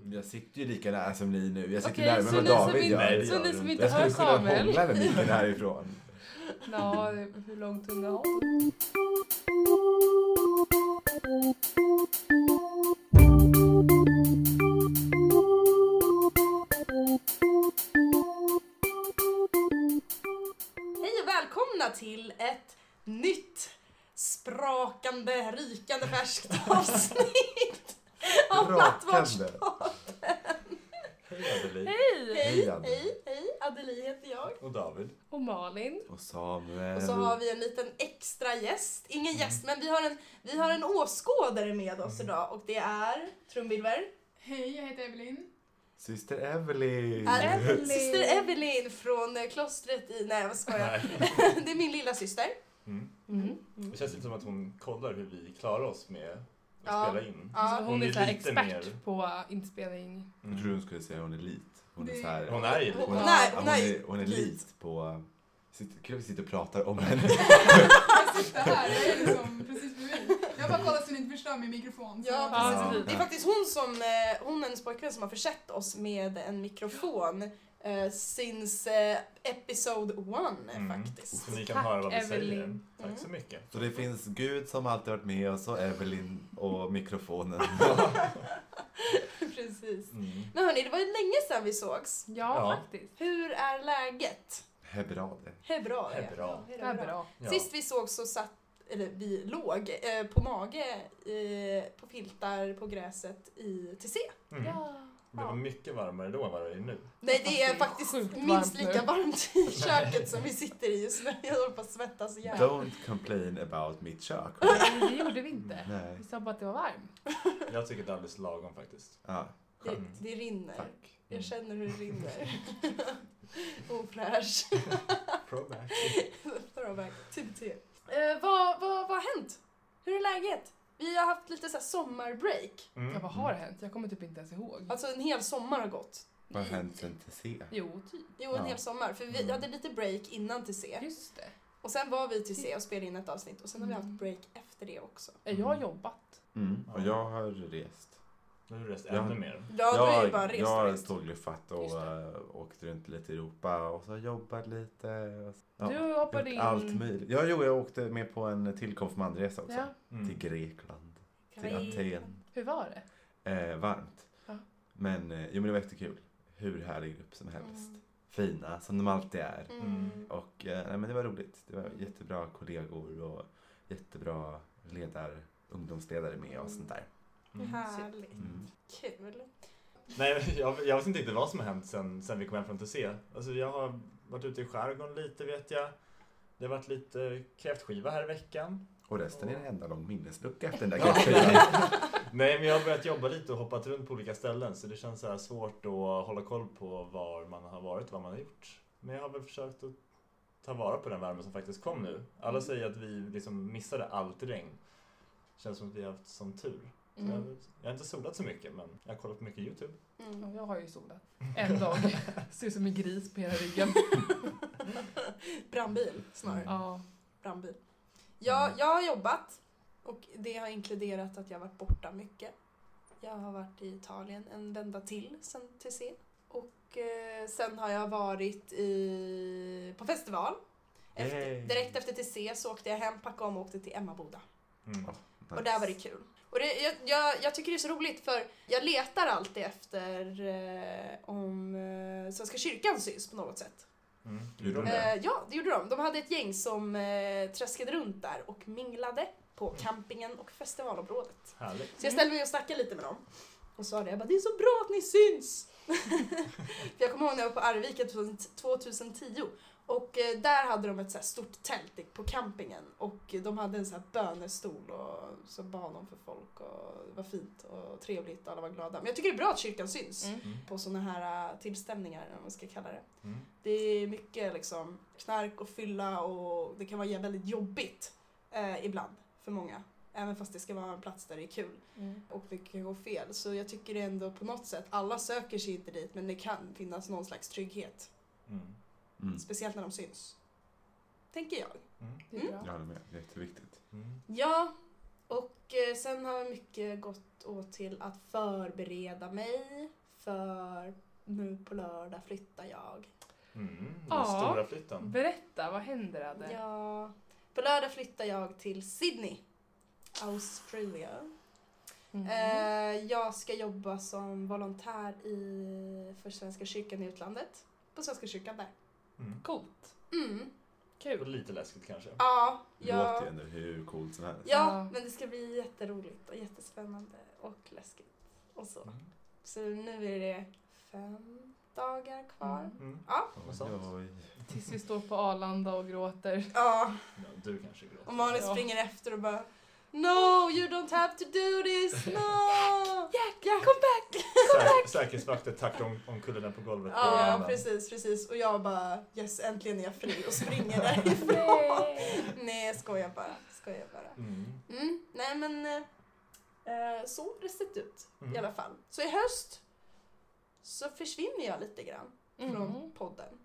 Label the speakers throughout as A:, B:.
A: Mm, Jag sitter ju lika nära som ni nu. Jag sitter
B: Okej,
A: närmare
B: så
A: än
B: ni
A: vad
B: som
A: David
B: inte-
A: gör.
B: så ni som inte
A: Jag skulle
B: hör
A: kunna
B: Samuel.
A: hångla med micken härifrån.
B: Ja, hur lång tunga har du? Hej och välkomna till ett nytt sprakande, rykande färskt avsnitt av
A: Rakande.
B: Nattvardsbarn.
C: Hej Adeline.
B: Hej!
A: Hej, Anna.
B: Hej, hej! Adelie heter jag.
C: Och David.
D: Och Malin.
A: Och Samuel.
B: Och så har Eh, vi Mm. en liten extra gäst. Ingen gäst, men vi har en, vi har en åskådare med oss idag och det är trumvirvel.
D: Hej, jag heter Evelyn.
A: Syster Evelyn.
B: Är-
D: Evelyn.
B: Syster Evelyn från eh, klostret i... Nej, jag skojar. det är min lilla syster.
C: Mm.
B: Mm.
C: Det känns lite som att hon kollar hur vi klarar oss med att
B: Ja.
C: spela in.
D: Alltså,
B: Ja.
D: hon,
C: Hon
D: är,
C: är
D: så här
C: lite
D: expert
C: mer-
D: på inspelning.
A: Jag tror hon skulle säga hon är lit. Hon är
D: Det-
A: så här.
C: Mm. Hon är ju
B: Hon,
C: lite...
B: hon
A: Ja,
B: är,
A: hon,
B: hon är,
A: är, hon är lit på... Sitter, kul att vi sitter och pratar om henne.
E: Jag sitter här, jag är liksom precis bredvid. Jag bara kollar så ni inte förstör min mikrofon. Så.
B: Ja,
D: Ja.
B: precis. Det är faktiskt hon som, eh, hon och hennes pojkvän som har försett oss med en mikrofon eh, since eh, episode one
C: Mm.
B: faktiskt.
C: Så ni kan
D: Tack,
C: höra vad vi säger.
D: Evelyn.
C: Tack så mycket.
A: Så det finns Gud som alltid varit med oss och Evelyn och mikrofonen.
B: Precis.
C: Mm.
B: Men hörni, det var ju länge sedan vi sågs.
D: Ja,
C: Ja.
D: faktiskt.
B: Hur är läget?
A: Hebrade.
B: Hej bra.
C: Hej,
B: ja.
C: bra.
B: Ja, hej
D: Det är
B: bra.
D: bra.
C: Ja.
B: Sist vi såg så satt, eller vi låg, eh, på mage eh, på filtar på gräset i TC.
C: Mm.
D: Ja.
C: Det var mycket varmare då än vad det är nu.
B: Nej det är
D: Det är
B: faktiskt
D: sjukt
B: minst
D: varmt
B: lika
D: nu.
B: varmt i köket som vi sitter i just nu. Jag håller på att svettas ihjäl.
A: Don't complain about mitt kök.
D: Men det gjorde vi inte.
A: Nej.
D: Vi sa bara att det var varmt.
C: Jag tycker det är alldeles lagom faktiskt.
A: Ja,
B: Det,
C: Skönt.
B: det rinner.
A: tack. Mm.
B: Jag känner hur det rinner. Ofräsch.
C: Throwback.
B: Throwback. Typ te. Eh, vad, vad, vad har hänt? Hur är läget? Vi har haft lite så här sommarbreak.
D: Ja,
C: Mm.
D: vad har hänt? Jag kommer typ inte ens ihåg.
B: Alltså en hel sommar har gått.
A: Vad har hänt sen TC?
D: Jo, typ.
B: Jo, en
A: Ja.
B: hel sommar. För vi
C: Mm.
B: hade lite break innan till C.
D: Just det.
B: Och sen var vi till C och spelade in ett avsnitt och sen har vi haft
D: Mm.
B: break efter det också.
D: Eh, Jag har jobbat.
A: Mm. Och jag har rest.
C: Nu har du rest
A: Ja.
C: ännu mer.
B: Ja, du har ju bara
A: jag har
B: rest och
A: tågluffat och
D: Just
A: eh, åkt runt lite i Europa och så har jag jobbat lite. Och så, ja,
D: Du hoppade
A: gjort
D: in.
A: Allt möjligt. Ja, jo, jag åkte med på en till konfirmandresa också.
D: Ja.
A: Till
C: Mm.
A: Grekland. Till
B: Grekland.
A: Aten.
D: Hur var det?
A: Eh, varmt.
D: Ja.
A: Men, eh, jo, men det var jättekul. Hur härlig grupp som helst.
B: Mm.
A: Fina, som de alltid är.
B: Mm.
A: Och eh, nej, men det var roligt. Det var jättebra kollegor och jättebra ledar, ungdomsledare med och sånt där.
C: Mm.
B: Härligt.
A: Mm.
B: Kul.
C: Nej, men jag, jag vet inte riktigt vad som har hänt sen, sen vi kom hem från TC. Alltså, jag har varit ute i skärgården lite vet jag. Det har varit lite kräftskiva här i veckan.
A: Och resten är en enda lång minneslucka efter den där
C: Ja.
A: gruppen.
C: Nej, men jag har börjat jobba lite och hoppat runt på olika ställen så det känns så här svårt att hålla koll på var man har varit och vad man har gjort. Men jag har väl försökt att ta vara på den värme som faktiskt kom nu. Alla
B: Mm.
C: säger att vi liksom missade allt regn. Känns som att vi har haft sån tur. Så
D: Mm.
C: Jag, jag har inte solat så mycket, men jag har kollat på mycket YouTube.
B: Mm.
D: Ja, Jag har ju solat. En dag. Ser ut som en gris på hela ryggen.
B: Brandbil snarare.
D: Ja.
B: Brandbil. Jag, jag har jobbat och det har inkluderat att jag har varit borta mycket. Jag har varit i Italien en vända till sen TC. Och eh, sen har jag varit i, på festival. Efter,
C: Yay.
B: direkt efter TC så åkte jag hem, packade om och åkte till Emmaboda.
C: Mm.
A: Nice.
B: Och där var det kul. Och det, jag, jag, jag tycker det är så roligt för jag letar alltid efter eh, om eh, Svenska kyrkan syns på något sätt.
C: Mm.
A: Gjorde de det?
B: Eh, ja, det gjorde de. De hade ett gäng som eh, tröskade runt där och minglade på campingen och festivalområdet.
C: Härligt.
B: Så jag ställde mig och snackade lite med dem. Och sa det, jag bara, det är så bra att ni syns! för jag kommer ihåg när jag var på Arvika 2010 och eh, där hade de ett så här stort tält på campingen och de hade en så här bönestol och så bad de för folk och det var fint och trevligt och alla var glada. Men jag tycker det är bra att kyrkan syns
D: Mm.
C: Mm.
B: på sådana här eh, tillställningar, eller vad man ska kalla det.
C: Mm.
B: Det är mycket liksom knark och fylla och det kan vara väldigt jobbigt eh, ibland för många. Även fast det ska vara en plats där det är kul
D: Mm.
B: och mycket kan gå fel. Så jag tycker ändå på något sätt, alla söker sig inte dit men det kan finnas någon slags trygghet.
C: Mm.
A: Mm.
B: Speciellt när de syns. Tänker jag.
C: Mm.
D: Det är
A: Jag
D: bra.
A: håller med, det är jätteviktigt.
C: Mm.
B: Ja, Och eh, sen har mycket gått åt till att förbereda mig för nu på lördag flyttar jag.
C: Mm, den
D: Ja.
C: stora flytten.
D: Berätta, vad händer Adde?
B: Ja, på lördag flyttar jag till Sydney, Australien.
D: Mm.
B: Eh, jag ska jobba som volontär i, för Svenska kyrkan i utlandet. På Svenska kyrkan där.
C: Mm.
D: Coolt.
B: Mm.
C: Och
D: Kul.
C: lite läskigt kanske.
B: Ja,
A: Det låter
B: jag,
A: ju ändå hur coolt som helst.
B: ja,
D: Ja.
B: men det ska bli jätteroligt och jättespännande och läskigt och så.
C: Mm.
B: Så nu är det fem dagar kvar.
D: Mm.
C: Mm.
A: Oj, oj.
D: Tills vi står på Arlanda och gråter.
B: Ja,
C: Ja, du kanske gråter.
B: och Malin
D: Ja.
B: springer efter och bara No, you don't have to do this! No! Jack, Jack, kom back!
C: Säk- Säkerhetsvakter tacklar om, om kullen på golvet. på
B: Ja,
C: verandan.
B: precis, precis. Och jag bara yes, äntligen är jag fri och springer därifrån. Nej, jag skojar bara. Skojar bara.
C: Mm.
B: Mm, nej men eh, eh, så har det sett ut
C: Mm.
B: i alla fall. Så i höst så försvinner jag lite grann från
D: Mm.
B: podden.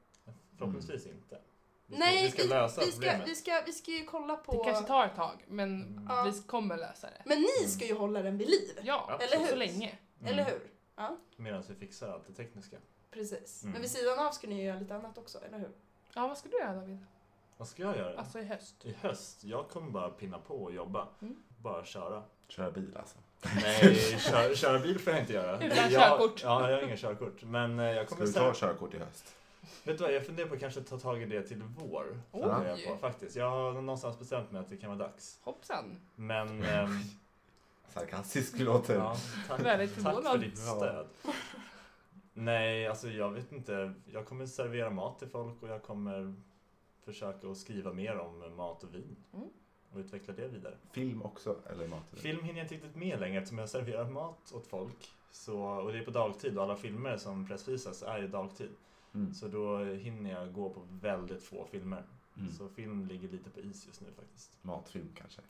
C: Förhoppningsvis
A: Mm.
C: inte. Vi ska,
B: nej,
C: vi ska lösa
B: vi, ska,
C: problemet.
B: vi, ska, vi ska ju kolla på...
D: Det kanske tar ett tag, men
C: Mm.
B: Ja.
D: vi kommer lösa det.
B: Men ni ska ju hålla den vid liv,
D: Ja,
C: Eller
D: så
B: hur?
D: länge.
C: Mm.
B: eller hur?
C: Medan vi fixar allt det tekniska.
B: Precis.
C: Mm.
B: Men vid sidan av ska ni ju göra lite annat också, eller hur?
D: Ja, vad ska du göra David?
C: Vad ska jag göra?
D: Alltså i höst.
C: I höst? Jag kommer bara pinna på och jobba.
D: Mm.
C: Bara köra.
A: Köra bil alltså.
C: Nej, köra kör bil får jag inte göra.
D: Utan
C: jag,
D: körkort.
C: Ja, jag har ingen körkort. Men eh, jag
A: Ska
C: kommer
A: du ta
C: säga,
A: körkort i höst?
C: Vet du vad, jag funderar på att kanske ta tag i det till vår.
D: Oj.
C: Funderar Jag, på, faktiskt. jag har någonstans bestämt mig att det kan vara dags.
D: Hoppsan.
C: Men... ehm,
A: Sarkastisk låter.
C: ja, tack,
D: Väldigt
C: tack för
D: förvånad.
C: ditt stöd. Nej, alltså jag vet inte. Jag kommer servera mat till folk och jag kommer försöka att skriva mer om mat och vin.
D: Mm.
C: Och utveckla det vidare.
A: Film också, eller mat?
C: Film hinner jag inte riktigt med längre eftersom jag serverar mat åt folk. Så, och det är på dagtid och alla filmer som pressvisas är ju dagtid.
A: Mm.
C: Så då hinner jag gå på väldigt få filmer.
A: Mm.
C: Så film ligger lite på is just nu faktiskt.
A: Matfilm kanske.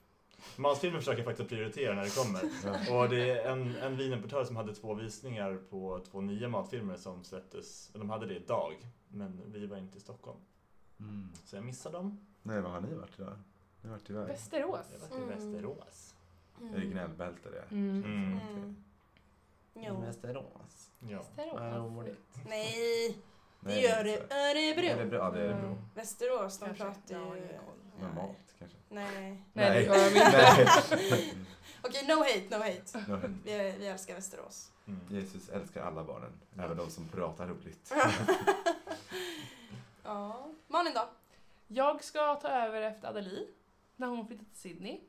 C: Matfilmer försöker jag faktiskt prioritera när det kommer. Och det är en, en vinimportör som hade två visningar på två nya matfilmer som släpptes. De hade det idag, men vi var inte i Stockholm.
A: Mm.
C: Så jag missade dem.
A: Nej, vad har ni varit idag? Ni har varit iväg?
D: Västerås.
C: Jag var i
B: Mm.
C: Västerås.
A: Jag är gnällbältare.
D: Mm.
C: Mm.
B: Mm. Jo.
A: Västerås.
C: Ja.
D: Västerås.
B: Nej, det gör det. Örebro.
A: Örebro. Ja, det är Örebro.
D: Mm.
B: Västerås, de
D: Kanske.
B: pratar
D: Jag har
B: ju...
D: ingen koll.
A: Med
B: Nej.
A: mat kanske.
B: Nej.
D: Nej, det
A: Nej.
D: gör vi
A: Nej. Mm.
D: inte.
B: Okej, no hate, no hate.
A: No hate.
B: Vi, vi älskar Västerås.
C: Mm.
A: Jesus älskar alla barnen, även de som pratar roligt.
B: ja. Malin då?
D: Jag ska ta över efter Adelie. När hon flyttar till Sydney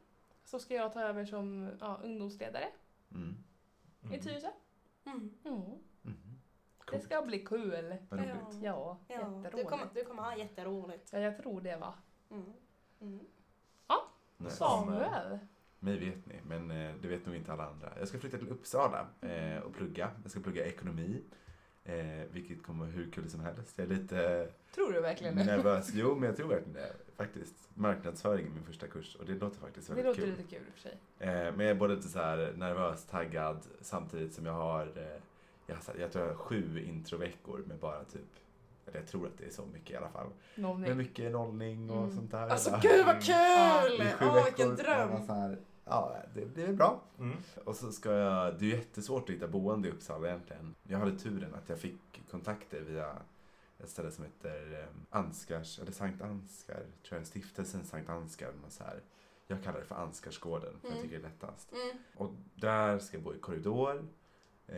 D: så ska jag ta över som ja, ungdomsledare
A: Mm.
C: Mm.
D: i Tyresö.
B: Mm.
D: Mm.
A: Mm.
D: Det
A: Coolt.
D: ska bli kul.
A: Vad roligt.
D: Ja,
B: Ja,
D: jätteroligt.
B: du kommer, du kommer ha jätteroligt.
D: Ja, jag tror det va.
B: Mm. Mm.
A: Nej.
D: Samuel.
A: Mig vet ni, men eh, det vet nog inte alla andra. Jag ska flytta till Uppsala eh, och plugga. Jag ska plugga ekonomi. Eh, vilket kommer vara hur kul som helst. Jag är lite
D: Tror du verkligen det?
A: nervös. Jo, men jag tror verkligen det. Faktiskt. Marknadsföring är min första kurs och det låter faktiskt
D: Det
A: väldigt
D: låter
A: kul.
D: lite kul i och för sig.
A: Eh, men jag är både lite så här nervös, taggad samtidigt som jag har, eh, jag, har så här, jag tror jag har sju introveckor med bara typ, eller jag tror att det är så mycket i alla fall. Med
D: Nollning.
A: mycket nollning och
D: Mm.
A: sånt där.
B: Alltså
A: Alla-
B: gud vad
A: Det
B: kul!
A: är sju
B: Åh vilken
A: veckor, man
B: dröm!
A: Så här, ja, det blir bra.
C: Mm.
A: Och så ska jag, det är ju jättesvårt att hitta boende i Uppsala egentligen. Jag hade turen att jag fick kontakter via ett ställe som heter eh, Anskars, eller Sankt Anskar, tror jag, stiftelsen Sankt Anskar. Men så här. Jag kallar det för Anskarsgården, för jag
B: Mm.
A: tycker det är lättast.
B: Mm.
A: Och där ska jag bo i korridor eh,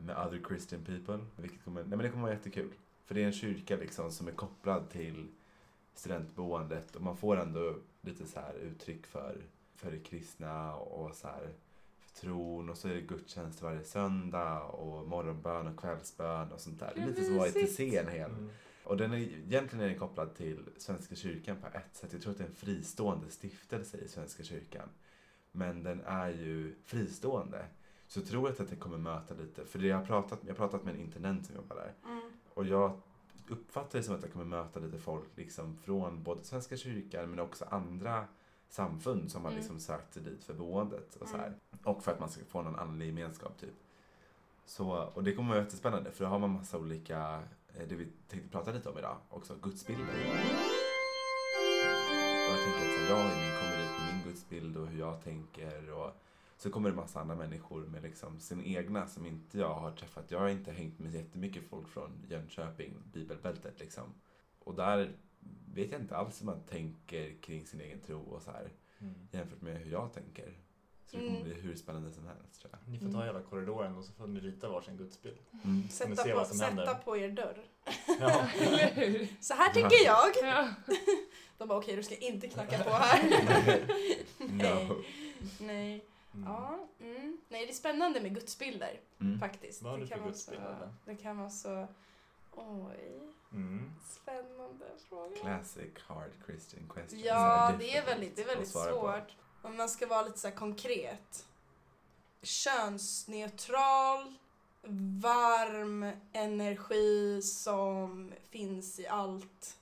A: med other Christian people. Vilket kommer, nej men det kommer vara jättekul. För det är en kyrka liksom som är kopplad till studentboendet och man får ändå lite så här uttryck för, för det kristna och så här för tron och så är det gudstjänst varje söndag och morgonbön och kvällsbön och sånt där. Det är
D: Hur
A: lite som att vara i
D: mysigt.
A: scen hel.
C: Mm.
A: Och den är, egentligen är den kopplad till Svenska kyrkan på ett sätt. Jag tror att det är en fristående stiftelse i Svenska kyrkan. Men den är ju fristående. Så jag tror att det kommer möta lite, för det jag har pratat, jag har pratat med en intendent som jobbar där.
B: Mm.
A: Och jag uppfattar det som att jag kommer möta lite folk liksom från både Svenska kyrkan men också andra samfund som har
D: Mm.
A: liksom sökt sig dit för boendet och så här.
B: Mm.
A: Och för att man ska få någon andlig gemenskap typ. Så, och det kommer vara jättespännande för då har man massa olika, eh, det vi tänkte prata lite om idag också, gudsbilder. Och jag tänker att så här, jag har ju min, kommer dit med min världsgudsbild och hur jag tänker. Och så kommer det massa andra människor med liksom sina egna som inte jag har träffat. Jag har inte hängt med jättemycket folk från Jönköping, bibelbältet liksom. Och där vet jag inte alls hur man tänker kring sin egen tro och så här
C: Mm.
A: jämfört med hur jag tänker. Så det kommer
B: Mm.
A: bli hur spännande som helst tror jag.
C: Ni får ta hela korridoren och så får ni rita varsin gudsbild.
A: Mm.
C: Kommer
B: Sätta,
C: se
B: på,
C: vad som
B: sätta
C: händer.
B: på er dörr.
C: Ja.
D: Eller hur?
B: Så här tänker jag.
D: Ja.
B: De bara okej, du ska inte knacka på här.
A: No.
B: Nej.
C: Mm.
B: Ja, mm. Nej, det är spännande med gudsbilder
A: Mm.
B: faktiskt.
C: Vad har du för
B: kan vara
C: gudsbild,
B: så,
C: Anna?
B: det kan vara så... Oj,
C: Mm.
B: spännande fråga.
A: Classic hard Christian question.
B: Ja,
A: Så
B: det är väldigt, det är
A: att
B: väldigt
A: svara på.
B: svårt. Om man ska vara lite så här konkret. Könsneutral, varm energi som finns i allt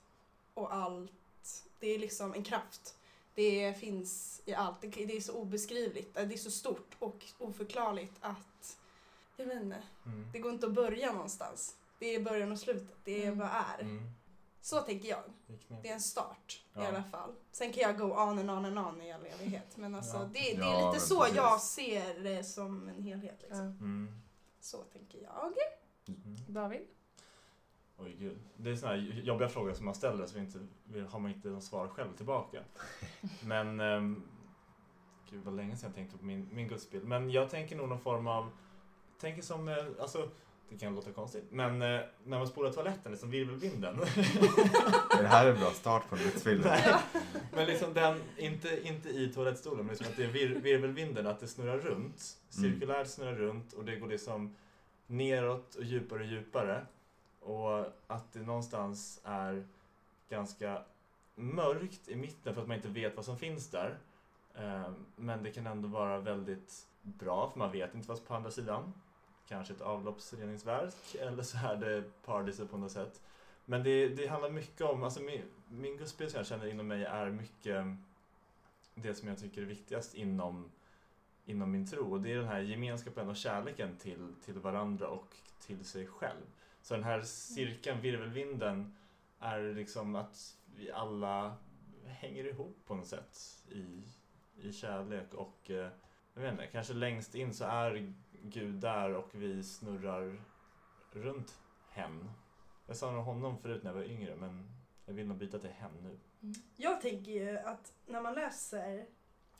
B: och allt. Det är liksom en kraft. Det finns i allt. Det det är så obeskrivligt. Det är så stort och oförklarligt att... Jag vet inte.
C: Mm.
B: Det går inte att börja någonstans. Det är början och slutet. Det är
D: Mm.
B: bara är.
C: Mm.
B: Så tänker jag.
C: Det är knepigt.
B: Det är en start i
C: Ja.
B: alla fall. Sen kan jag go on and on and on i all evighet. Men alltså,
C: Ja.
B: det, det är
A: Ja,
B: lite
A: men
B: så
A: precis.
B: jag ser det som en helhet. Liksom.
D: Ja.
C: Mm.
B: Så tänker jag.
C: Mm.
D: David?
C: Oj gud. Det är sådana här jobbiga frågor som man ställer så vi inte, vi- har man inte något svar själv tillbaka. Men... ehm, gud vad länge sedan jag tänkte på min, min gudsbild. Men jag tänker nog någon form av... Tänker som... eh, Alltså, det kan låta konstigt. Men eh, när man spolar toaletten, liksom virvelvinden.
A: Det här är en bra start på en gudsbild.
C: Nej. Men liksom den, inte, inte i toalettstolen, men liksom att det är vir, virvelvinden, att det snurrar runt.
A: Mm.
C: Cirkulärt snurrar runt och det går liksom neråt och djupare och djupare. Och att det någonstans är ganska mörkt i mitten för att man inte vet vad som finns där. Eh, Men det kan ändå vara väldigt bra för man vet inte vad på andra sidan. Kanske ett avloppsreningsverk eller så är det paradiset på något sätt. Men det, det handlar mycket om, alltså min, min gudsbild som jag känner inom mig är mycket det som jag tycker är viktigast inom, inom min tro och det är den här gemenskapen och kärleken till, till varandra och till sig själv. Så den här cirkeln, virvelvinden, är liksom att vi alla hänger ihop på något sätt i, i kärlek och eh, jag vet inte, kanske längst in så är Gud där och vi snurrar runt hen. Jag sa nog honom förut när jag var yngre men jag vill nog byta till hen nu.
B: Jag tänker ju att när man läser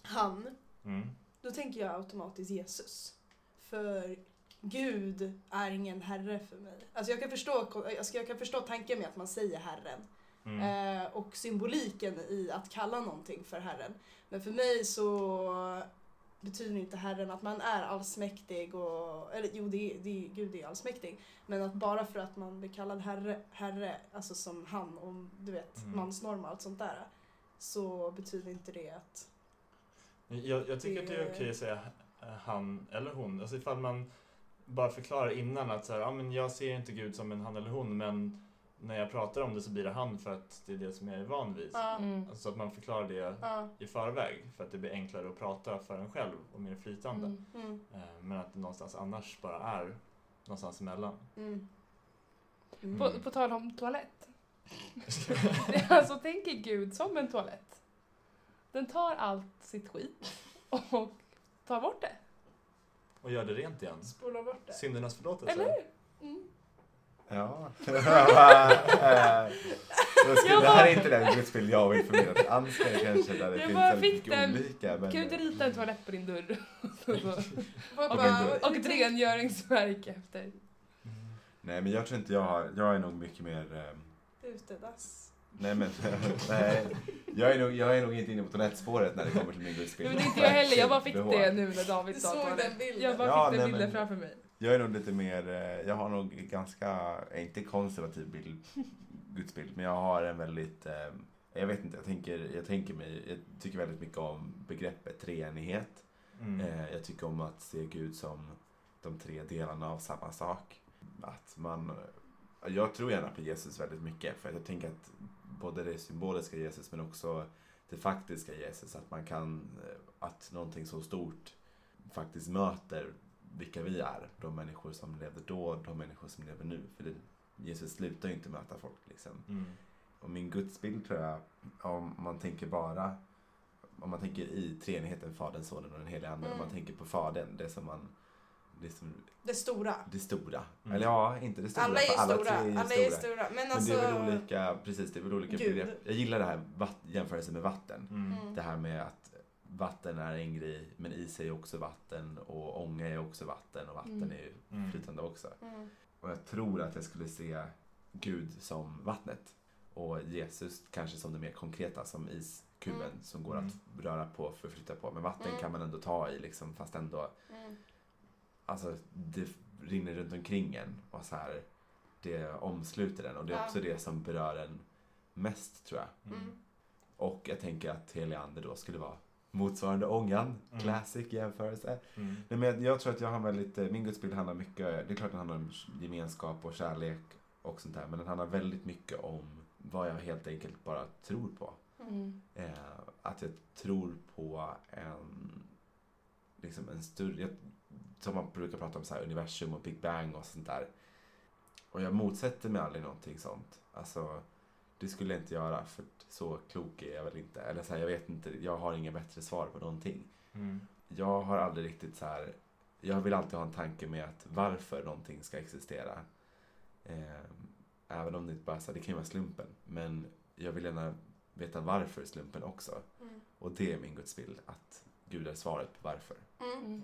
B: han,
C: Mm.
B: då tänker jag automatiskt Jesus. För Gud är ingen herre för mig. Alltså jag kan förstå, alltså jag kan förstå tanken med att man säger herren.
C: Mm.
B: Eh, och symboliken i att kalla någonting för Herren. Men för mig så betyder inte Herren att man är allsmäktig och, eller jo, det, är- det, är- Gud är allsmäktig. Men att bara för att man blir kallad herre, herre alltså som han och du vet
C: Mm.
B: mansnorm och allt sånt där. Så betyder inte det att,
C: Jag, jag tycker att det är
B: Det-
C: okej att säga eh, han eller hon. Alltså ifall man bara förklarar innan att så här, ah, men jag ser inte Gud som en han eller hon men när jag pratar om det så blir det han för att det är det som jag är van vid.
B: ja,
D: Mm.
C: Alltså att man förklarar det
B: ja,
C: i förväg för att det blir enklare att prata för en själv och mer flytande.
D: Mm.
B: mm,
C: Eh, Men att det någonstans annars bara är någonstans emellan.
B: mm.
A: Mm.
D: På, på tal om toalett. alltså tänker Gud som en toalett. Den tar allt sitt skit och tar bort det.
C: Och gör det rent igen.
B: Spola bort det.
C: Syndernas förlåtelse.
D: Eller hur?
B: Mm.
A: Ja. Eh, jag skulle-
D: Jag
A: det här är
D: bara-
A: inte den gudsbild jag vill förmedla till Ansgar kanske där det
D: Jag
A: finns
D: bara
A: väldigt
D: fick
A: mycket
D: den.
A: olika. Men, eh,
D: Kan du inte rita en toalett på din dörr? Alltså,
B: Bara-
A: då-
D: och ett rengöringsverk efter.
C: Mm.
A: nej men jag tror inte jag har, jag är nog mycket mer ehm,
B: Utedass.
A: Nej men, nej. Jag är, nog, jag är nog inte inne på toalettspåret när det kommer till min
D: Nej,
A: gudsbild.
D: men det är inte jag heller, jag bara fick
A: Behov.
D: det nu när
B: Du
D: David sa
B: såg den
D: toalett.
B: bilden.
D: Jag bara
A: Ja,
D: fick den
A: nej,
D: bilden
A: men-
D: framför mig.
A: Jag är nog lite mer, eh, jag har nog ganska, eh, inte konservativ bild, gudsbild, men jag har en väldigt, eh, jag vet inte, jag tänker, jag tänker mig, jag tycker väldigt mycket om begreppet treenighet.
C: Mm.
A: Eh, Jag tycker om att se Gud som de tre delarna av samma sak. Att man, jag tror gärna på Jesus väldigt mycket för att jag tänker att både det symboliska Jesus men också det faktiska Jesus. Att man kan, eh, att någonting så stort faktiskt möter vilka vi är. De människor som levde då, de människor som lever nu. För det, Jesus slutar ju inte möta folk liksom.
C: Mm.
A: Och min gudsbild tror jag, om man tänker bara om man tänker i treenigheten Fadern, Sonen och den helige Anden. Om
B: Mm.
A: man tänker på Fadern, det som man... Det, som,
B: Det stora.
A: det stora.
C: Mm.
A: Eller ja, inte det stora.
B: alla
A: för
B: är
A: alla
B: stora.
A: tre är
B: Alla är stora. Men alltså...
A: Men det är väl olika, precis, det är väl olika
B: Gud.
A: begrepp. Jag gillar det här vatt, jämförelsen med vatten.
C: Mm.
B: Mm.
A: Det här med att vatten är en grej, men is är ju också vatten och ånga är också vatten och vatten
D: Mm.
A: är ju
C: Mm.
A: flytande också.
B: Mm.
A: Och jag tror att jag skulle se Gud som vattnet och Jesus kanske som det mer konkreta, som iskuben
B: Mm.
A: som går
C: Mm.
A: att röra på, förflytta på. Men vatten
B: Mm.
A: kan man ändå ta i liksom, fast ändå,
B: Mm.
A: alltså det rinner runt omkring en och så här, det omsluter den och det är
B: Ja.
A: också det som berör en mest tror jag.
B: Mm.
A: Och jag tänker att Heliander då skulle vara motsvarande ångan.
C: Mm.
A: Classic jämförelse.
C: Mm.
A: Nej, men jag- jag tror att jag har en väldigt, eh, min gudsbild handlar mycket, det är klart den handlar om gemenskap och kärlek och sånt där. Men den handlar väldigt mycket om vad jag helt enkelt bara tror på.
D: Mm.
A: Eh, att jag tror på en, liksom en större, jag, som man brukar prata om så här universum och Big Bang och sånt där. Och jag motsätter mig aldrig någonting sånt. Alltså, det skulle jag inte göra för att så klok är jag väl inte. Eller så här, jag vet inte, jag har inga bättre svar på någonting.
C: Mm.
A: Jag har aldrig riktigt så här, jag vill alltid ha en tanke med att varför någonting ska existera. Eh, även om det inte bara så här, det kan ju vara slumpen. Men jag vill gärna veta varför slumpen också.
B: Mm.
A: Och det är min gudsbild, att Gud är svaret på varför.
B: Mm.
D: Mm.
C: Mm.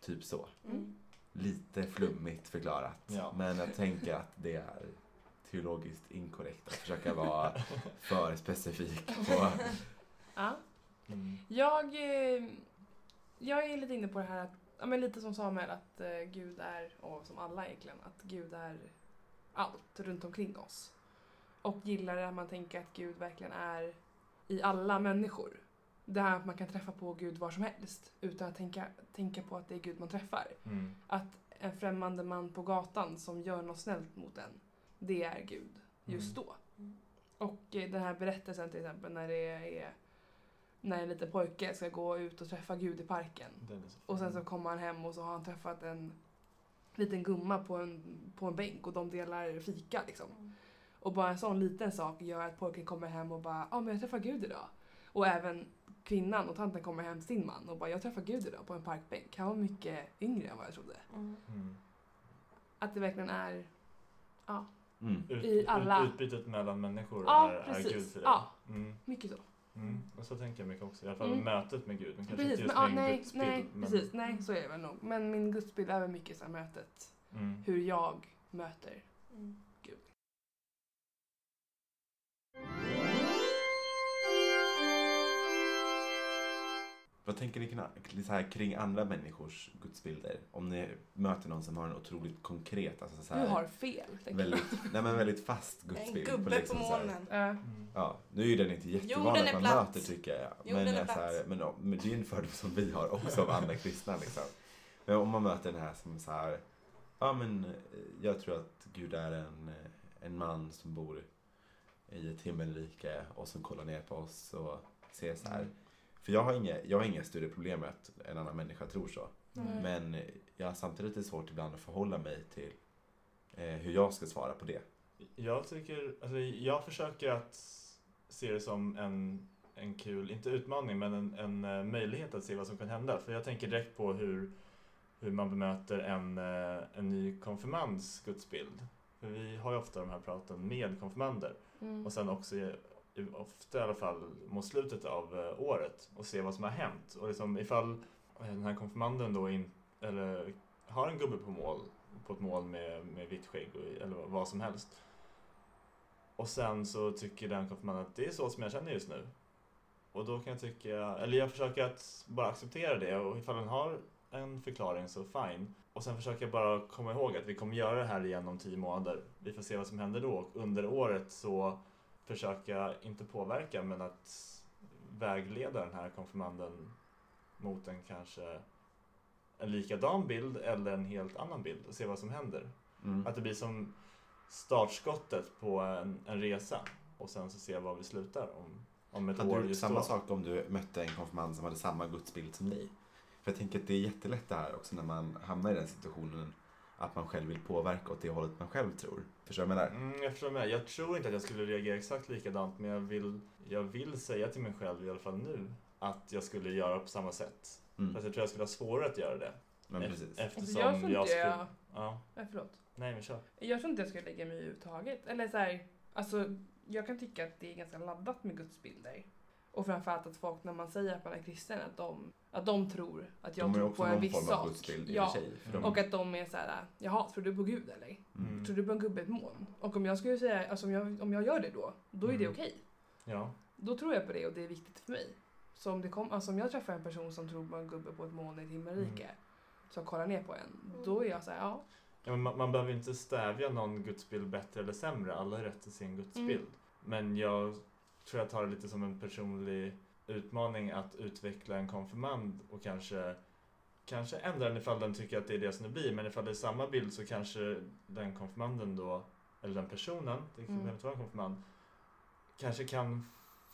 A: Typ så.
B: Mm.
A: Lite flummigt förklarat.
C: Ja.
A: Men jag tänker att det är teologiskt inkorrekt att försöka vara för specifik på...
D: Ja.
C: Mm.
D: Jag, eh, jag är lite inne på det här att, ja, men lite som Samuel, att eh, Gud är, och som alla egentligen, att Gud är allt runt omkring oss. Och gillar det att man tänker att Gud verkligen är i alla människor. Det här att man kan träffa på Gud var som helst utan att tänka, tänka på att det är Gud man träffar.
C: Mm.
D: Att en främmande man på gatan som gör något snällt mot en, det är Gud just då.
B: Mm.
D: Och eh, den här berättelsen till exempel när det är när en liten pojke ska gå ut och träffa Gud i parken.
C: Den är så fin.
D: Och sen så kommer han hem och så har han träffat en liten gumma på en, på en bänk och de delar fika liksom. Och bara en sån liten sak gör att pojken kommer hem och bara ja ah, men jag träffar Gud idag. Och även kvinnan och tanten kommer hem till sin man och bara jag träffar Gud idag på en parkbänk. Han var mycket yngre än vad jag trodde.
B: Mm.
C: Mm.
D: Att det verkligen är
A: Mm.
C: Ut,
D: I alla-
C: ut- Utbytet mellan människor
D: Ja,
C: är, är
D: precis.
C: Gud för dig.
D: Ja.
C: Mm.
D: mycket så.
C: Mm. Och så tänker jag mycket också. I alla fall
D: Mm.
C: mötet med Gud. Men kanske
D: Precis,
C: inte just
D: men, ja,
C: med
D: nej,
C: gudsbild,
D: nej,
C: men-
D: precis, nej, så är det väl nog. Men min gudsbild är väl mycket så här mötet,
C: Mm.
D: hur jag möter
B: Mm.
D: Gud.
A: Vad tänker ni kna- så här, kring andra människors gudsbilder? Om ni möter någon som har en otroligt konkret, alltså så här,
D: Du har fel, tänker jag.
A: väldigt, nej, men väldigt fast
B: En
A: gudsbild. liksom
B: gubbe på
A: så här-
B: molnen.
D: Eh,
C: Mm.
A: Ja, nu är ju den inte jättevan
B: Jorden
A: att
B: är
A: man
B: platt.
A: möter tycker jag.
B: Jorden
A: men,
B: är
A: jag så här,
B: platt.
A: men, ja, men det är ju en fördom som vi har också av andra kristna. Liksom. Men om man möter den här som så här, ja men eh, jag tror att Gud är en, eh, en man som bor i ett himmelrike och som kollar ner på oss och ser så
B: Mm.
A: här. För jag har inga, jag har inga större problem med att en annan människa tror så.
D: Mm.
A: Men jag har samtidigt lite svårt ibland att förhålla mig till eh, hur jag ska svara på det.
C: Jag tycker, alltså, jag försöker att se det som en, en kul, inte utmaning, men en, en eh, möjlighet att se vad som kan hända. För jag tänker direkt på hur, hur man bemöter en, eh, en ny konfirmands gudsbild. För vi har ju ofta de här praten med konfirmander.
D: mm.
C: Och sen också, eh, ofta i alla fall, mot slutet av eh, året och se vad som har hänt. Och liksom ifall eh, den här konfirmanden då in, eller har en gubbe på mål, på ett mål med, med vitt skägg och, eller vad som helst. Och sen så tycker den konfirmanden att det är så som jag känner just nu. Och då kan jag tycka, eller jag försöker att bara acceptera det och ifall den har en förklaring så fine. Och sen försöker jag bara komma ihåg att vi kommer göra det här igen om tio månader. Vi får se vad som händer då och under året så försöka, inte påverka, men att vägleda den här konfirmanden mot en kanske en likadan bild eller en helt annan bild och se vad som händer.
A: Mm.
C: Att det blir som startskottet på en, en resa och sen så se var vi slutar om, om ett
A: Hade
C: år
A: du gjort
C: just
A: samma
C: då.
A: sak om du mötte en konfirmand som hade samma gudsbild som dig? För jag tänker att det är jättelätt det här också när man hamnar i den situationen att man själv vill påverka åt det hållet man själv tror. Förstår du vad jag menar?
C: Mm, jag förstår med. Jag tror inte att jag skulle reagera exakt likadant men jag vill, jag vill säga till mig själv i alla fall nu att jag skulle göra på samma sätt.
A: Mm.
C: Fast jag tror jag skulle ha svårare att göra det.
A: Men
C: E-
A: precis.
C: Eftersom
D: Jag tror inte
C: skulle...
D: jag...
C: Ja,
D: Nej, förlåt.
C: nej men kör.
D: Jag tror inte jag skulle lägga mig i överhuvudtaget. Eller så här, alltså, jag kan tycka att det är ganska laddat med gudsbilder. Och framförallt att folk när man säger att man är kristen, att de, att de tror att jag
A: De har ju
D: tror
A: också
D: på en
A: någon
D: viss
A: form av
D: sak.
A: gudsbild i och
D: ja.
A: för sig. För de...
D: Och att de är så här, jaha, tror du på Gud eller?
A: Mm.
D: Tror du på en gubbe i ett moln? Och om jag skulle säga, alltså om jag, om jag gör det då, då är det
C: Mm.
D: okej.
C: Ja.
D: Då tror jag på det och det är viktigt för mig. Så om, det kom, alltså om jag träffar en person som tror på en gubbe på ett moln i ett himmelrike,
A: Mm.
D: som kollar ner på en, då är jag så här, ja.
C: Ja, men man, man behöver inte stävja någon gudsbild bättre eller sämre. Alla har rätt till sin gudsbild.
D: Mm.
C: Men jag tror jag tar det lite som en personlig utmaning att utveckla en konfirmand och kanske, kanske ändra den ifall den tycker att det är det som det blir. Men ifall det är samma bild så kanske den konfirmanden då, eller den personen, det
D: Mm.
C: behöver inte vara en konfirmand, kanske kan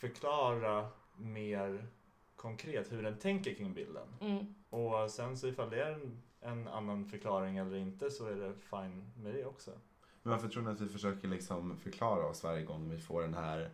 C: förklara mer konkret hur den tänker kring bilden.
D: Mm.
C: Och sen så ifall det är en, en annan förklaring eller inte så är det fine med det också.
A: Men varför tror ni att vi försöker liksom förklara oss varje gång vi får den här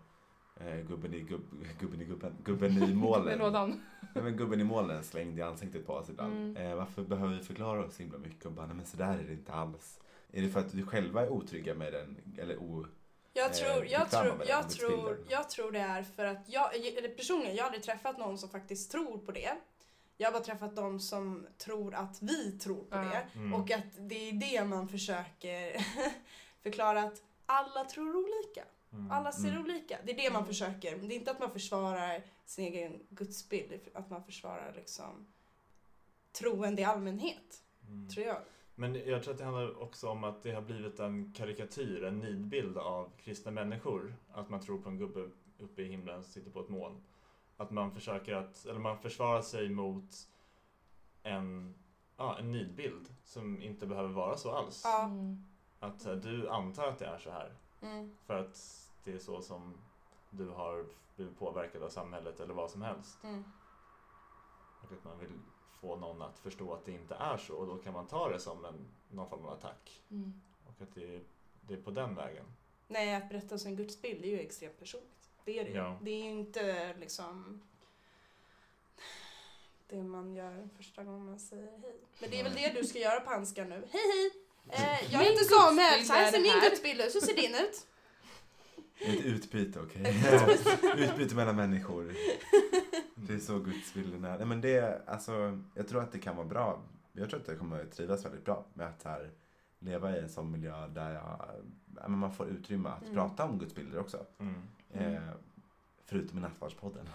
A: eh, gubben i gubb, gubben i gubben, gubben i
D: Med
A: målen.
D: lådan.
A: Nej, men gubben i målen slängde i ansiktet på oss ibland.
D: Mm.
A: Eh, varför behöver vi förklara oss så himla mycket och bara, nej men så där är det inte alls. Är det för att vi själva är otrygga med den, eller o...
B: Jag
A: Eh,
B: tror, jag,
A: bekväma
B: tror,
A: med
B: jag,
A: den
B: tror,
A: bilden.
B: jag tror det är för att jag, eller personligen, jag har aldrig träffat någon som faktiskt tror på det. Jag har bara träffat de som tror att vi tror på
D: Ja.
B: det.
C: Mm.
B: Och att det är det man försöker förklara att alla tror olika.
C: Mm.
B: Alla ser
A: Mm.
B: olika. Det är det man
D: Mm.
B: försöker. Det är inte att man försvarar sin egen gudsbild. det är Att man försvarar liksom troende i allmänhet,
C: Mm.
B: tror jag.
C: Men jag tror att det handlar också om att det har blivit en karikatyr, en nidbild av kristna människor. Att man tror på en gubbe uppe i himlen som sitter på ett moln. Att man försöker att, eller man försvarar sig mot en, ja, en nidbild som inte behöver vara så alls.
B: Ja.
D: Mm.
C: Att så här, du antar att det är så här.
B: Mm.
C: För att det är så som du har blivit påverkad av samhället eller vad som helst.
B: Mm.
C: Och att man vill få någon att förstå att det inte är så och då kan man ta det som en, någon form av attack.
D: Mm.
C: Och att det är, det är på den vägen.
B: Nej, att berätta sin gudsbild är ju extremt personligt. Det är det ju.
C: Ja.
B: Det är ju inte liksom det man gör första gången man säger hej. Men det är väl det du ska göra på handskan nu. Hej hej! Eh, jag
D: Min
B: heter Samuel,
D: gudsbild
B: så här
D: är
B: ser min
D: här.
B: gudsbild ut, så ser din ut.
A: Ett utbyte, okej?
B: Ett
A: utbyte mellan människor.
C: Mm.
A: Det är så gudsbilden är. Nej, men det, alltså, jag tror att det kan vara bra. Jag tror att jag kommer trivas väldigt bra med att så här, leva i en sån miljö där jag, ja, men man får utrymme att
B: Mm.
A: prata om gudsbilder också.
C: Mm.
A: Eh, förutom i Nattvardspodden.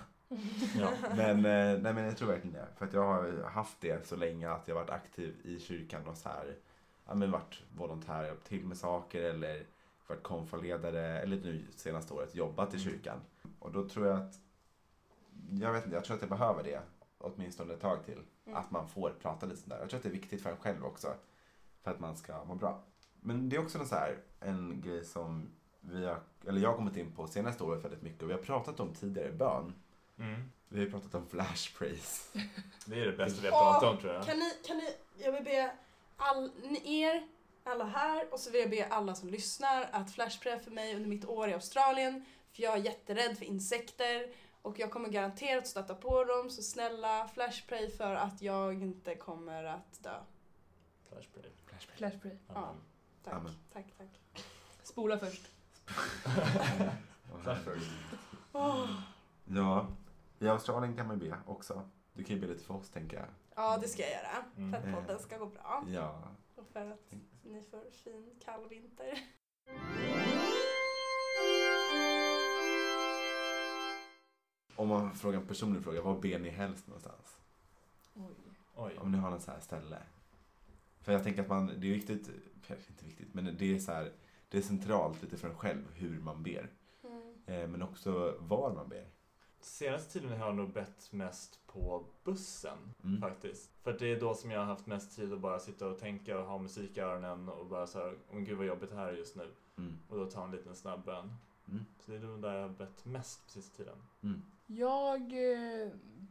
C: Ja.
A: Men, eh, nej, men jag tror verkligen det. För att jag har ju haft det så länge att jag varit aktiv i kyrkan och så här, ja, men varit volontär, hjälpt till med saker eller varit konfaledare eller nu senaste året jobbat i
C: Mm.
A: kyrkan. Och då tror jag att, jag vet inte, jag tror att jag behöver det åtminstone ett tag till.
B: Mm.
A: Att man får prata lite sådär. Jag tror att det är viktigt för en själv också. För att man ska må bra. Men det är också en, så här, en grej som vi har, eller jag har kommit in på senaste året väldigt mycket och vi har pratat om tidigare bön.
C: Mm.
A: Vi har ju pratat om flash praise.
C: Det är det bästa vi har pratat om tror jag.
B: Kan ni, kan ni, jag vill be all, ni, er, alla här och så vill jag be alla som lyssnar att flashprä för mig under mitt år i Australien. För jag är jätterädd för insekter och jag kommer garanterat stöta på dem. Så snälla flashpray för att jag inte kommer att dö.
C: Flash break.
A: Flash praise.
D: Flash pray.
B: Ja. Tack,
A: Amen.
B: tack, tack.
D: Spola först.
A: Och
C: Flash
A: här-
C: break.
A: Ja, i Australien kan man ju be också. Du kan ju be lite för oss tänker jag.
B: Ja, det ska jag göra.
C: Mm.
B: För att podden ska gå bra.
A: Ja.
B: Och för att ni får fin kall vinter.
A: Om man frågar en personlig fråga, var ber ni helst någonstans?
D: Oj.
C: Oj.
A: Om ni har något så här ställe. För jag tänker att man, det är viktigt, kanske inte viktigt, men det är så här, det är centralt lite för en själv hur man ber.
B: Mm.
A: Eh, men också var man ber.
C: Senaste tiden har jag nog bett mest på bussen.
A: Mm.
C: faktiskt. För det är då som jag har haft mest tid att bara sitta och tänka och ha musik i öronen och bara så här, åh gud vad jobbigt det här är just nu.
A: Mm.
C: Och då ta en liten snabb bön.
A: Mm.
C: Så det är nog där jag har bett mest på sista tiden.
A: Mm.
D: Jag eh,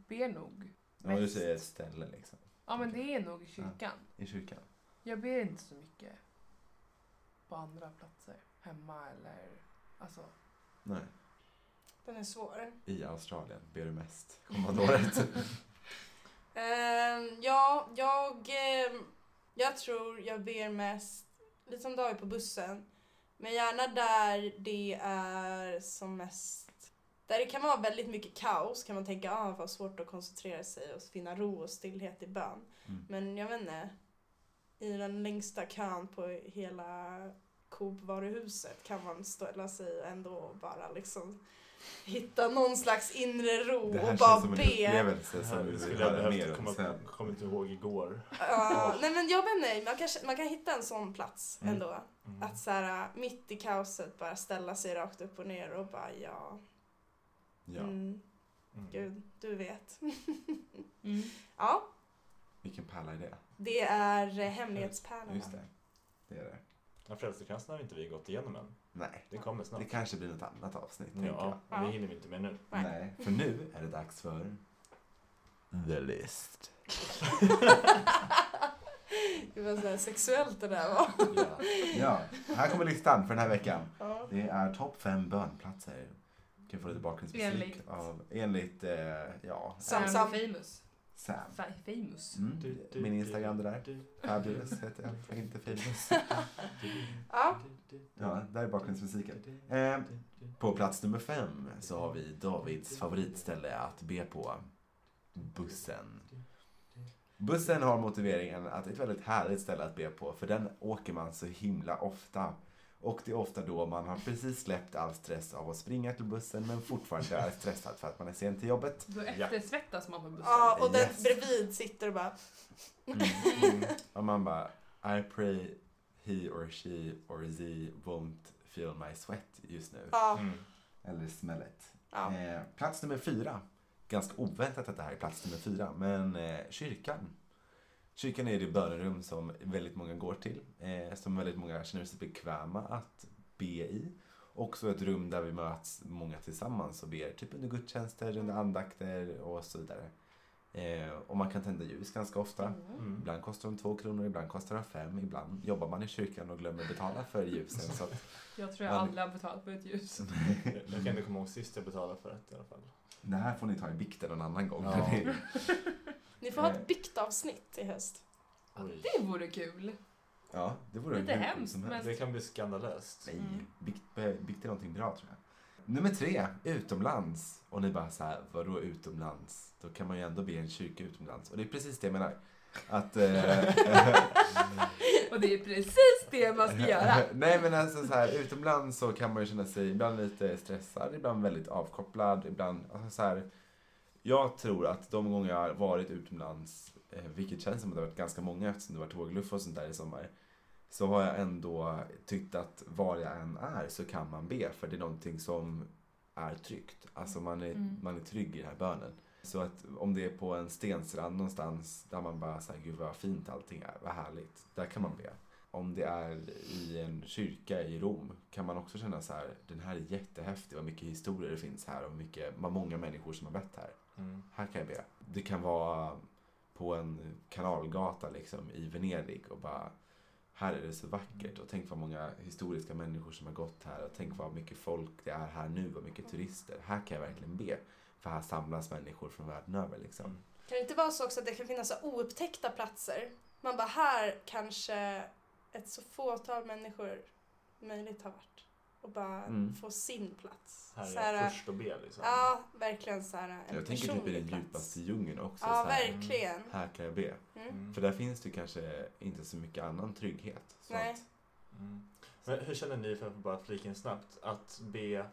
D: ber nog.
A: Ja, du
D: Mest.
A: säger ett ställe liksom.
D: Ja men det är nog i kyrkan.
A: I kyrkan.
D: Jag ber inte så mycket på andra platser. Hemma eller alltså.
A: Nej.
B: Den är svår.
A: i Australien ber du mest kommande året.
B: Ehm, ja, jag, ehm, jag tror jag ber mest, lite som David på bussen, men gärna där det är som mest där det kan vara väldigt mycket kaos kan man tänka ah, vad svårt att koncentrera sig och finna ro och stillhet i bön.
A: Mm.
B: Men jag vet inte, i den längsta kön på hela Coop-varuhuset kan man ställa sig ändå och bara liksom hitta någon slags inre ro
A: Det här
B: och bara
A: känns som en
B: be.
A: upplevelse
C: Det
A: som
C: här
A: vi vill
C: skulle jag
A: höra mer
C: behövt
A: om
C: komma,
A: sen.
C: kommer inte ihåg igår.
B: Ja, nej men jag vet inte, man, kanske, man kan hitta en sån plats
A: Mm.
B: ändå.
C: Mm.
B: Att så här, mitt i kaoset bara ställa sig rakt upp och ner och bara ja,
A: Ja,
B: mm,
C: Mm.
B: gud, du vet.
D: Mm.
B: Ja,
A: vilken pärla är det?
B: det är eh, hemlighetspärlan.
A: Just det, det är det.
C: Ja, Frälsningskrantsen har inte vi gått igenom än.
A: Nej,
C: Det kommer
A: det
C: snart.
A: kanske blir något annat avsnitt, tänker jag.
C: Ja, men det hinner vi inte med nu.
B: Nej.
A: Nej, för nu är det dags för The List.
B: Det var så här sexuellt det där var.
C: Ja.
A: Ja, här kommer listan för den här veckan.
B: Ja.
A: Det är topp fem bönplatser. Kan få lite bakgrundsmusik
D: Enligt.
A: av enligt eh, ja,
B: Sam,
D: Sam,
B: sam.
D: Famous.
A: Sam.
D: Fa- famous.
A: Mm, min Instagram det där.
C: Du,
A: Fabulous heter jag, inte famous.
B: Ja.
A: Ja, där är bakgrundsmusiken. Eh, på plats nummer fem så har vi Davids favoritställe att be på. Bussen. Bussen har motiveringen att det är ett väldigt härligt ställe att be på för den åker man så himla ofta. Och det är ofta då man har precis släppt all stress av att springa till bussen men fortfarande är stressad för att man är sen till jobbet.
D: Då eftersvettas man på bussen.
B: ja, och den
A: Yes.
B: bredvid sitter och bara
C: Mm.
A: Och man bara I pray he or she or they won't feel my sweat just nu.
B: ja,
C: Mm.
A: Eller smället.
B: ja.
A: Eh, plats nummer fyra. Ganska oväntat att det här är plats nummer fyra, men eh, kyrkan. Kyrkan är det bönerum som väldigt många går till, eh, som väldigt många känner sig bekväma att be i. Också ett rum där vi möts många tillsammans och ber, typ under gudstjänster, under andakter och så vidare. Eh, och man kan tända ljus ganska ofta.
C: Mm.
A: Ibland kostar de två kronor, ibland kostar de fem, ibland jobbar man i kyrkan och glömmer betala för ljusen. Så att,
D: Jag tror jag aldrig har betalat för ett ljus.
C: Jag jag kan inte komma ihåg sist jag betalade för det i alla fall.
A: det här får ni ta i bikten någon annan gång.
C: Ja.
A: Det är-
B: Ni får ha
A: Eh.
B: ett biktavsnitt i höst.
C: Oj.
D: Det vore kul.
A: Ja, det vore
D: Lite
A: hur kul
D: hemskt,
A: som helst.
D: men-
C: Det kan bli skandalöst.
A: Nej,
B: Mm.
A: bikt, eh, bikt är någonting bra tror jag. Nummer tre, utomlands. Och ni bara så här, vadå utomlands? Då kan man ju ändå be i en kyrka utomlands. Och det är precis det jag menar. Att... eh,
D: Och det är precis det man ska göra. Mm.
A: Nej men alltså så här, utomlands så kan man ju känna sig ibland lite stressad, ibland väldigt avkopplad, ibland alltså så här. Jag tror att de gånger jag har varit utomlands, eh, vilket känns som att det har varit ganska många eftersom det var tågluff och sånt där i sommar, så har jag ändå tyckt att var jag än är så kan man be för det är någonting som är tryggt. Alltså man är,
D: Mm.
A: man är trygg i den här bönen. Så att om det är på en stensrand någonstans där man bara säger gud vad fint allting är, vad härligt, där kan man be om det är i en kyrka i Rom kan man också känna så här, den här är jättehäftig, vad mycket historier det finns här och hur mycket, vad många människor som har bett här.
C: Mm.
A: Här kan jag be. Det kan vara på en kanalgata liksom i Venedig och bara, här är det så vackert och tänk vad många historiska människor som har gått här och tänk vad mycket folk det är här nu och
B: Mm.
A: mycket turister. Här kan jag verkligen be. För här samlas människor från världen över liksom.
B: Kan det inte vara så också att det kan finnas så oupptäckta platser? Man bara, här kanske ett så fåtal människor möjligt har varit. Och bara
A: Mm.
B: få sin plats.
C: Här
B: Så
C: är
B: här,
C: jag först och ber liksom.
B: Ja, verkligen så här en
A: Jag tänker typ i den
B: personlig plats.
A: djupaste djungeln också.
B: Ja,
A: så här,
B: verkligen.
A: här kan jag be.
B: Mm.
C: Mm.
A: För där finns det kanske inte så mycket annan trygghet. Så
B: Nej.
A: Att,
C: Mm. Men hur känner ni, för att bara flika in snabbt, att be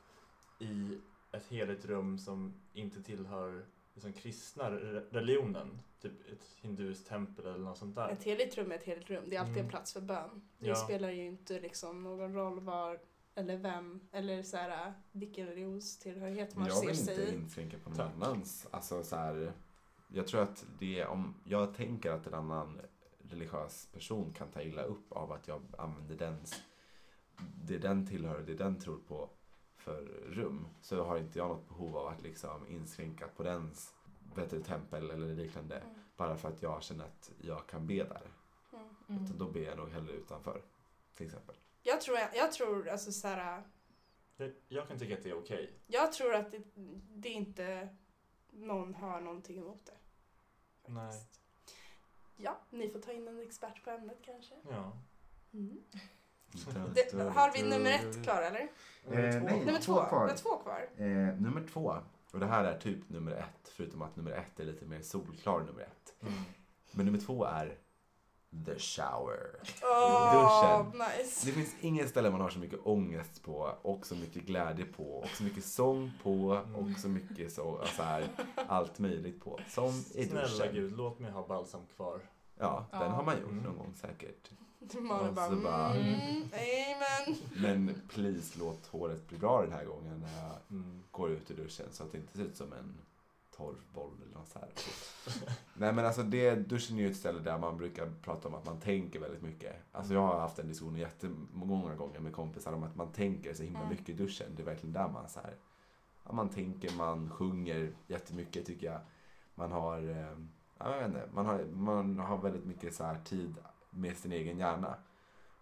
C: i ett heligt rum som inte tillhör liksom, kristna re- religionen? Typ ett hinduiskt tempel eller något sånt där.
B: Mm. Ett heligt rum är ett heligt rum. Det är alltid
C: Mm.
B: en plats för bön. Det
C: Ja.
B: spelar ju inte liksom någon roll var eller vem eller så här, vilken religionstillhörighet
A: men
B: man
A: jag
B: ser
A: vill
B: sig
A: inte
B: i.
A: inskränka på någon
C: Tack.
A: annans. Alltså, så här, jag tror att det är om jag tänker att en annan religiös person kan ta illa upp av att jag använder dens, det den tillhör och det den tror på för rum så har inte jag något behov av att liksom inskränka på dens vet du, tempel eller liknande
B: Mm.
A: bara för att jag känner att jag kan be där.
B: Mm.
A: Utan då ber jag nog hellre utanför till exempel.
B: Jag tror, jag tror alltså så här,
C: Jag, jag kan tycka att det är okej.
B: Jag tror att det, det inte någon har någonting emot det.
C: Nej.
B: faktiskt. Ja, ni får ta in en expert på ämnet kanske.
C: Ja.
B: Mm. Det, har vi nummer ett klar eller?
A: Eh, nej.
B: Nummer två.
A: två kvar.
B: Det är två kvar.
A: Eh, nummer två. Och det här är typ nummer ett, förutom att nummer ett är lite mer solklar nummer ett.
C: Mm.
A: Men nummer två är The Shower.
B: Åh, nice.
A: Det finns inget ställe man har så mycket ångest på och så mycket glädje på och så mycket sång på och så mycket så, så här, allt möjligt på. Som i
C: Snälla
A: duschen.
C: gud, låt mig ha balsam kvar.
A: Ja,
D: Ja.
A: den har man gjort någon
C: Mm.
A: gång säkert.
B: Malin
A: Och
B: bara,
A: så Alltså, bara-
B: mm, amen.
A: Men please låt håret bli bra den här gången när jag
C: Mm.
A: går ut ur duschen så att det inte ser ut som en torvboll eller något så här. Nej men alltså det, duschen är ju ett ställe där man brukar prata om att man tänker väldigt mycket. Alltså jag har haft en diskussion jättemånga gånger med kompisar om att man tänker så himla
B: Mm.
A: mycket i duschen. Det är verkligen där man så här, ja, man tänker, man sjunger jättemycket tycker jag. Man har, eh, ja, jag vet inte, man har, man har väldigt mycket så här tid med sin egen hjärna.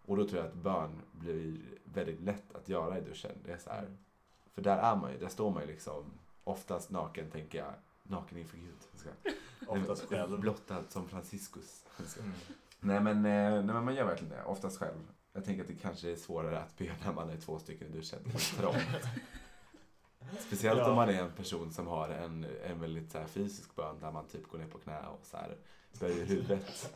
A: Och då tror jag att bön blir väldigt lätt att göra i duschen. Det är så här,
C: Mm.
A: för där är man ju, där står man ju liksom oftast naken tänker jag, naken inför Gud. Jag ska-
C: Oftast
A: Nej, men,
C: själv.
A: Blottad som Franciscus. Jag ska-
C: Mm.
A: Nej men, eh, nej men man gör verkligen det, oftast själv. Jag tänker att det kanske är svårare att be när man är två stycken i duschen. Det är trångt. Speciellt
C: Ja.
A: om man är en person som har en, en väldigt så här, fysisk bön där man typ går ner på knä och så här, böjer huvudet.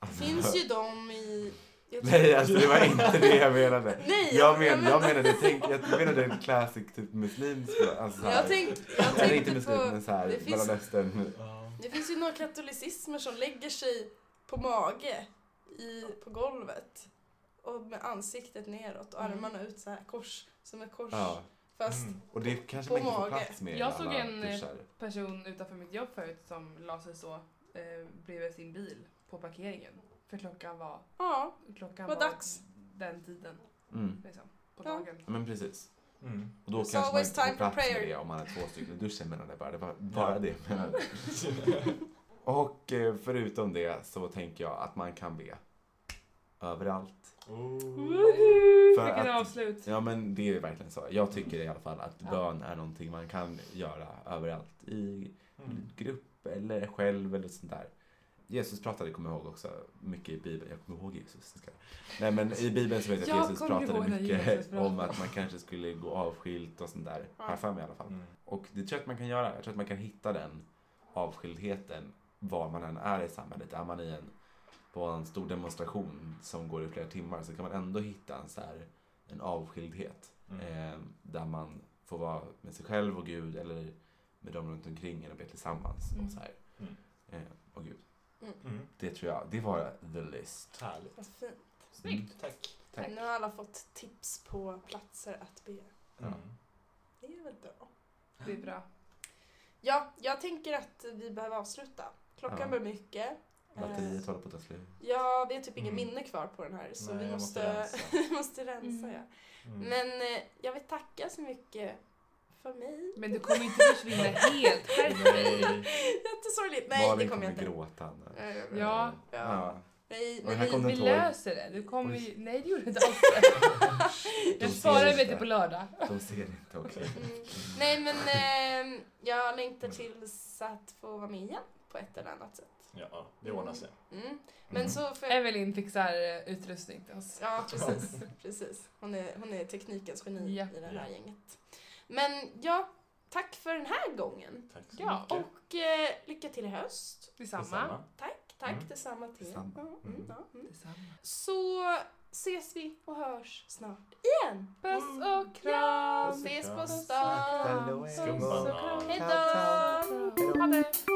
B: Det finns ju de i... jag tror-
A: Nej alltså det var inte det jag menade.
B: Nej,
A: Jag, men, jag menade, tänk, jag menade en classic typ muslimsk bön. Alltså, så här-
B: Jag tänkte, jag
A: Eller inte
B: tänkte
A: muslim,
B: på...
A: men så här,
B: det finns-
A: Mellanöstern.
C: Ja.
B: Det finns ju några katolicismer som lägger sig på mage i, på golvet. Och med ansiktet neråt och
D: Mm.
B: armarna ut så här kors, som ett kors.
A: Ja.
B: Fast
C: Mm.
A: Och det kanske
B: På
A: man inte får
B: mage.
A: plats med i
D: Jag
A: alla
D: såg en, eh,
A: duschar.
D: person utanför mitt jobb förut som la sig så eh, bredvid sin bil på parkeringen. För klockan var,
B: ja,
D: klockan
B: Var
D: var,
B: dags.
D: den tiden
A: Mm.
D: liksom, på
B: Ja.
D: dagen.
A: Ja, Men precis.
C: Mm.
A: Och då
B: It's
A: kanske man
B: always
A: inte får
B: time for
A: plats med
B: prayer.
A: det om man är två stycken i duschen menade jag bara. Det var bara
C: Ja.
A: det jag menade. Och eh, förutom det så tänker jag att man kan be. Överallt.
C: Oh.
D: Woho!
A: För
D: Vilket
A: att-
D: avslut!
A: Ja men det är verkligen så. Jag tycker i alla fall att
D: Ja.
A: bön är någonting man kan göra överallt. I
C: Mm.
A: grupp eller själv eller sånt där. Jesus pratade, kommer jag ihåg också, mycket i Bibeln. Jag kommer ihåg Jesus. ska jag. Nej men i Bibeln så vet jag
D: Jag
A: att Jesus
D: kommer ihåg när
A: pratade mycket
D: Jesus pratade.
A: om att man kanske skulle gå avskilt och sånt där.
B: Ja.
A: Här för mig i alla fall.
C: Mm.
A: Och det tror jag att man kan göra. Jag tror att man kan hitta den avskildheten var man än är i samhället. Är man i en, på en stor demonstration som går i flera timmar så kan man ändå hitta en, så här, en avskildhet.
C: Mm.
A: Eh, där man får vara med sig själv och Gud eller med dem runt omkring en och be tillsammans.
D: Mm.
A: Och, så här.
C: Mm.
A: Eh, och Gud.
C: Mm.
A: Det tror jag, det var the list.
C: Härligt.
B: vad fint.
A: Mm.
D: Snyggt!
C: Tack.
A: Tack.
B: Nu har alla fått tips på platser att be.
A: Ja.
C: Mm.
B: Det är väl bra.
D: Det är bra.
B: Ja, jag tänker att vi behöver avsluta. Klockan
A: Ja.
B: börjar mycket. Eh,
A: Batteriet håller på att ta slut.
B: Ja, vi har typ inget
C: Mm.
B: minne kvar på den här så
C: Nej,
B: vi
C: jag måste
B: måste,
C: rensa.
B: vi måste rensa.
D: Mm.
B: Ja.
C: Mm.
B: Men eh, jag vill tacka så mycket för mig.
D: Men du kommer inte försvinna helt, herregud!
C: Nej.
B: Jättesorgligt. Nej,
A: Malin
B: det kommer jag inte.
A: gråta. nu.
B: Eh,
D: Ja.
A: Eh,
B: Ja. Nej,
A: Och
B: men
A: här
B: vi-
A: kom den
D: Vi
A: tolv.
D: löser det, du kommer ju... Nej det gjorde du inte alls.
A: De
D: Jag
A: ser
D: svarar
A: inte.
D: mig till på lördag.
A: De ser inte, okej.
B: Mm. Nej men eh, jag längtar tills att få vara med igen på ett eller annat sätt.
C: Ja, det ordnar sig.
B: Mm. Men
A: Mm.
B: så får jag...
D: Evelyn fixar eh, utrustning till oss.
B: Ja precis, precis. Hon är, hon är teknikens geni
D: Ja.
B: i det här
C: Ja.
B: gänget. Men ja, tack för den här gången.
C: Mm. Tack så
D: Ja,
C: mycket.
B: Och eh, lycka till i höst.
D: Detsamma.
B: Tack, tack
C: Mm.
B: detsamma till er.
A: Detsamma.
B: Ja, Mm.
C: Mm.
B: Ja, mm.
D: Detsamma.
B: Så ses vi och hörs snart. Mm.
D: Puss och kram!
B: Ses på
C: Puss och
B: stan.
A: Hallå,
D: Puss
A: hej
D: och
A: då.
D: kram.
B: Hejdå!
A: Ciao, ciao.
B: Ha det!